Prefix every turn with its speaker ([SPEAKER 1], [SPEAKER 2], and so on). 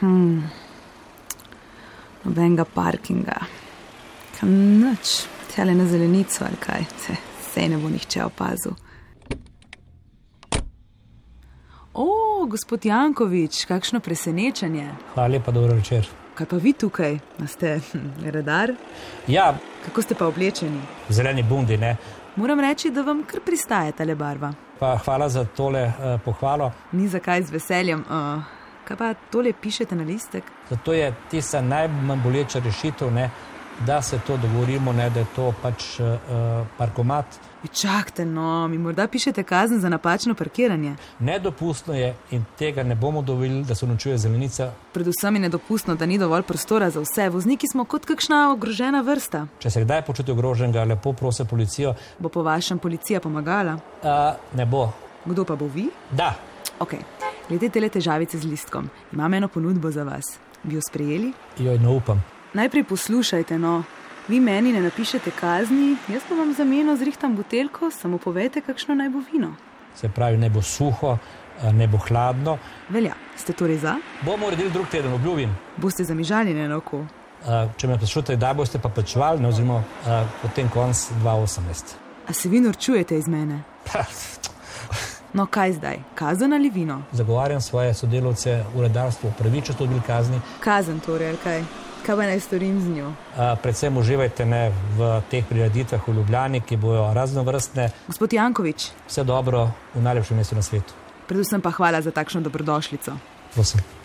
[SPEAKER 1] Hm. Nobenega parkinga. Kam noč, tele na zelenico ali kaj, se, sej ne bo nihče opazil. O, gospod Jankovič, kakšno presenečenje.
[SPEAKER 2] Hvala lepa, dobro večer.
[SPEAKER 1] Kaj pa vi tukaj? A ste hm, redar?
[SPEAKER 2] Ja,
[SPEAKER 1] Kako ste pa oblečeni?
[SPEAKER 2] zeleni bundi, ne.
[SPEAKER 1] Moram reči, da vam kar pristaje tale barva.
[SPEAKER 2] Pa hvala za tole eh, pohvalo.
[SPEAKER 1] Ni zakaj z veseljem. Uh, kaj pa tole pišete na listek?
[SPEAKER 2] Zato je tista najmanj boleča rešitev, ne, da se to dogovorimo, ne, da je to pač eh, eh, parkomat.
[SPEAKER 1] Vi čakajte, no, mi morda pišete kazen za napačno parkiranje.
[SPEAKER 2] Nedopustno je in tega ne bomo dovolili, da se nočuje zelenica.
[SPEAKER 1] Predvsem je nedopustno, da ni dovolj prostora za vse. Vozniki smo kot kakšna ogrožena vrsta.
[SPEAKER 2] Če se kdaj počuti ogroženega, lepo prosi policijo.
[SPEAKER 1] Bo po vašem policija pomagala?
[SPEAKER 2] A, ne bo.
[SPEAKER 1] Kdo pa bo vi?
[SPEAKER 2] Da,
[SPEAKER 1] Ok, glede tele težavice z listkom, imam eno ponudbo za vas. Bi jo sprejeli?
[SPEAKER 2] joj ne upam.
[SPEAKER 1] Najprej poslušajte, no. Vi meni ne napišete kazni, jaz pa vam zameno zrihtam butelko, samo povejte, kakšno naj bo vino.
[SPEAKER 2] Se pravi, ne bo suho, eh, ne bo hladno.
[SPEAKER 1] Velja, ste torej za?
[SPEAKER 2] Bomo uredili drug teden, obljubim.
[SPEAKER 1] Boste zamižaljeni na oko.
[SPEAKER 2] Eh, Če me sprašujete, da boste pa plačevali, ne, oziroma eh, potem konc 2018.
[SPEAKER 1] A se vi norčujete iz mene?
[SPEAKER 2] Pa,
[SPEAKER 1] No, kaj zdaj, kazen ali vino?
[SPEAKER 2] Zagovarjam svoje sodelavce v redarstvu, pravično so bili kazni.
[SPEAKER 1] Kazen torej, ali kaj? Kaj pa naj storim z njo?
[SPEAKER 2] Eh, Predvsem uživajte ne, v teh prireditvah v Ljubljani, ki bojo raznovrstne,
[SPEAKER 1] Gospod Jankovič,
[SPEAKER 2] vse dobro v najlepšem mestu na svetu.
[SPEAKER 1] predvsem pa hvala za takšno dobrodošlico.
[SPEAKER 2] Prosim.